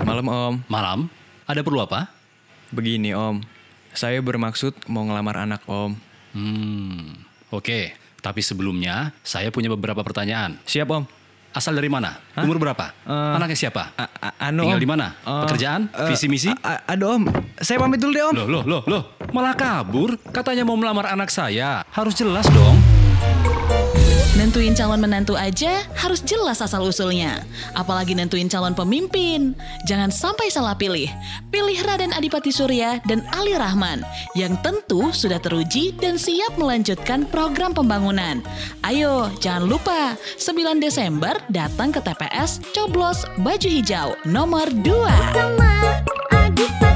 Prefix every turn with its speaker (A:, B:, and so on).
A: Malam Om,
B: Malam, ada perlu apa?
A: begini Om. Saya bermaksud mau ngelamar anak Om.
B: Hmm, oke. Tapi sebelumnya, saya punya beberapa pertanyaan.
A: Siap Om.
B: Asal dari mana? Umur berapa? Anaknya siapa?
A: Eh, A- a- anu
B: Tinggal
A: Om.
B: di mana?
A: Eh,
B: Pekerjaan? Visi misi?
A: A- aduh Om, saya pamit dulu deh Om.
B: Loh, loh, loh, loh. Malah kabur. Katanya mau melamar anak saya. Harus jelas dong.
C: Nentuin calon menantu aja harus jelas asal-usulnya. Apalagi nentuin calon pemimpin. Jangan sampai salah pilih. Pilih Raden Adipati Surya dan Ali Rahman yang tentu sudah teruji dan siap melanjutkan program pembangunan. Ayo, jangan lupa 9 Desember datang ke TPS Coblos Baju Hijau nomor 2.
D: Sama Adipati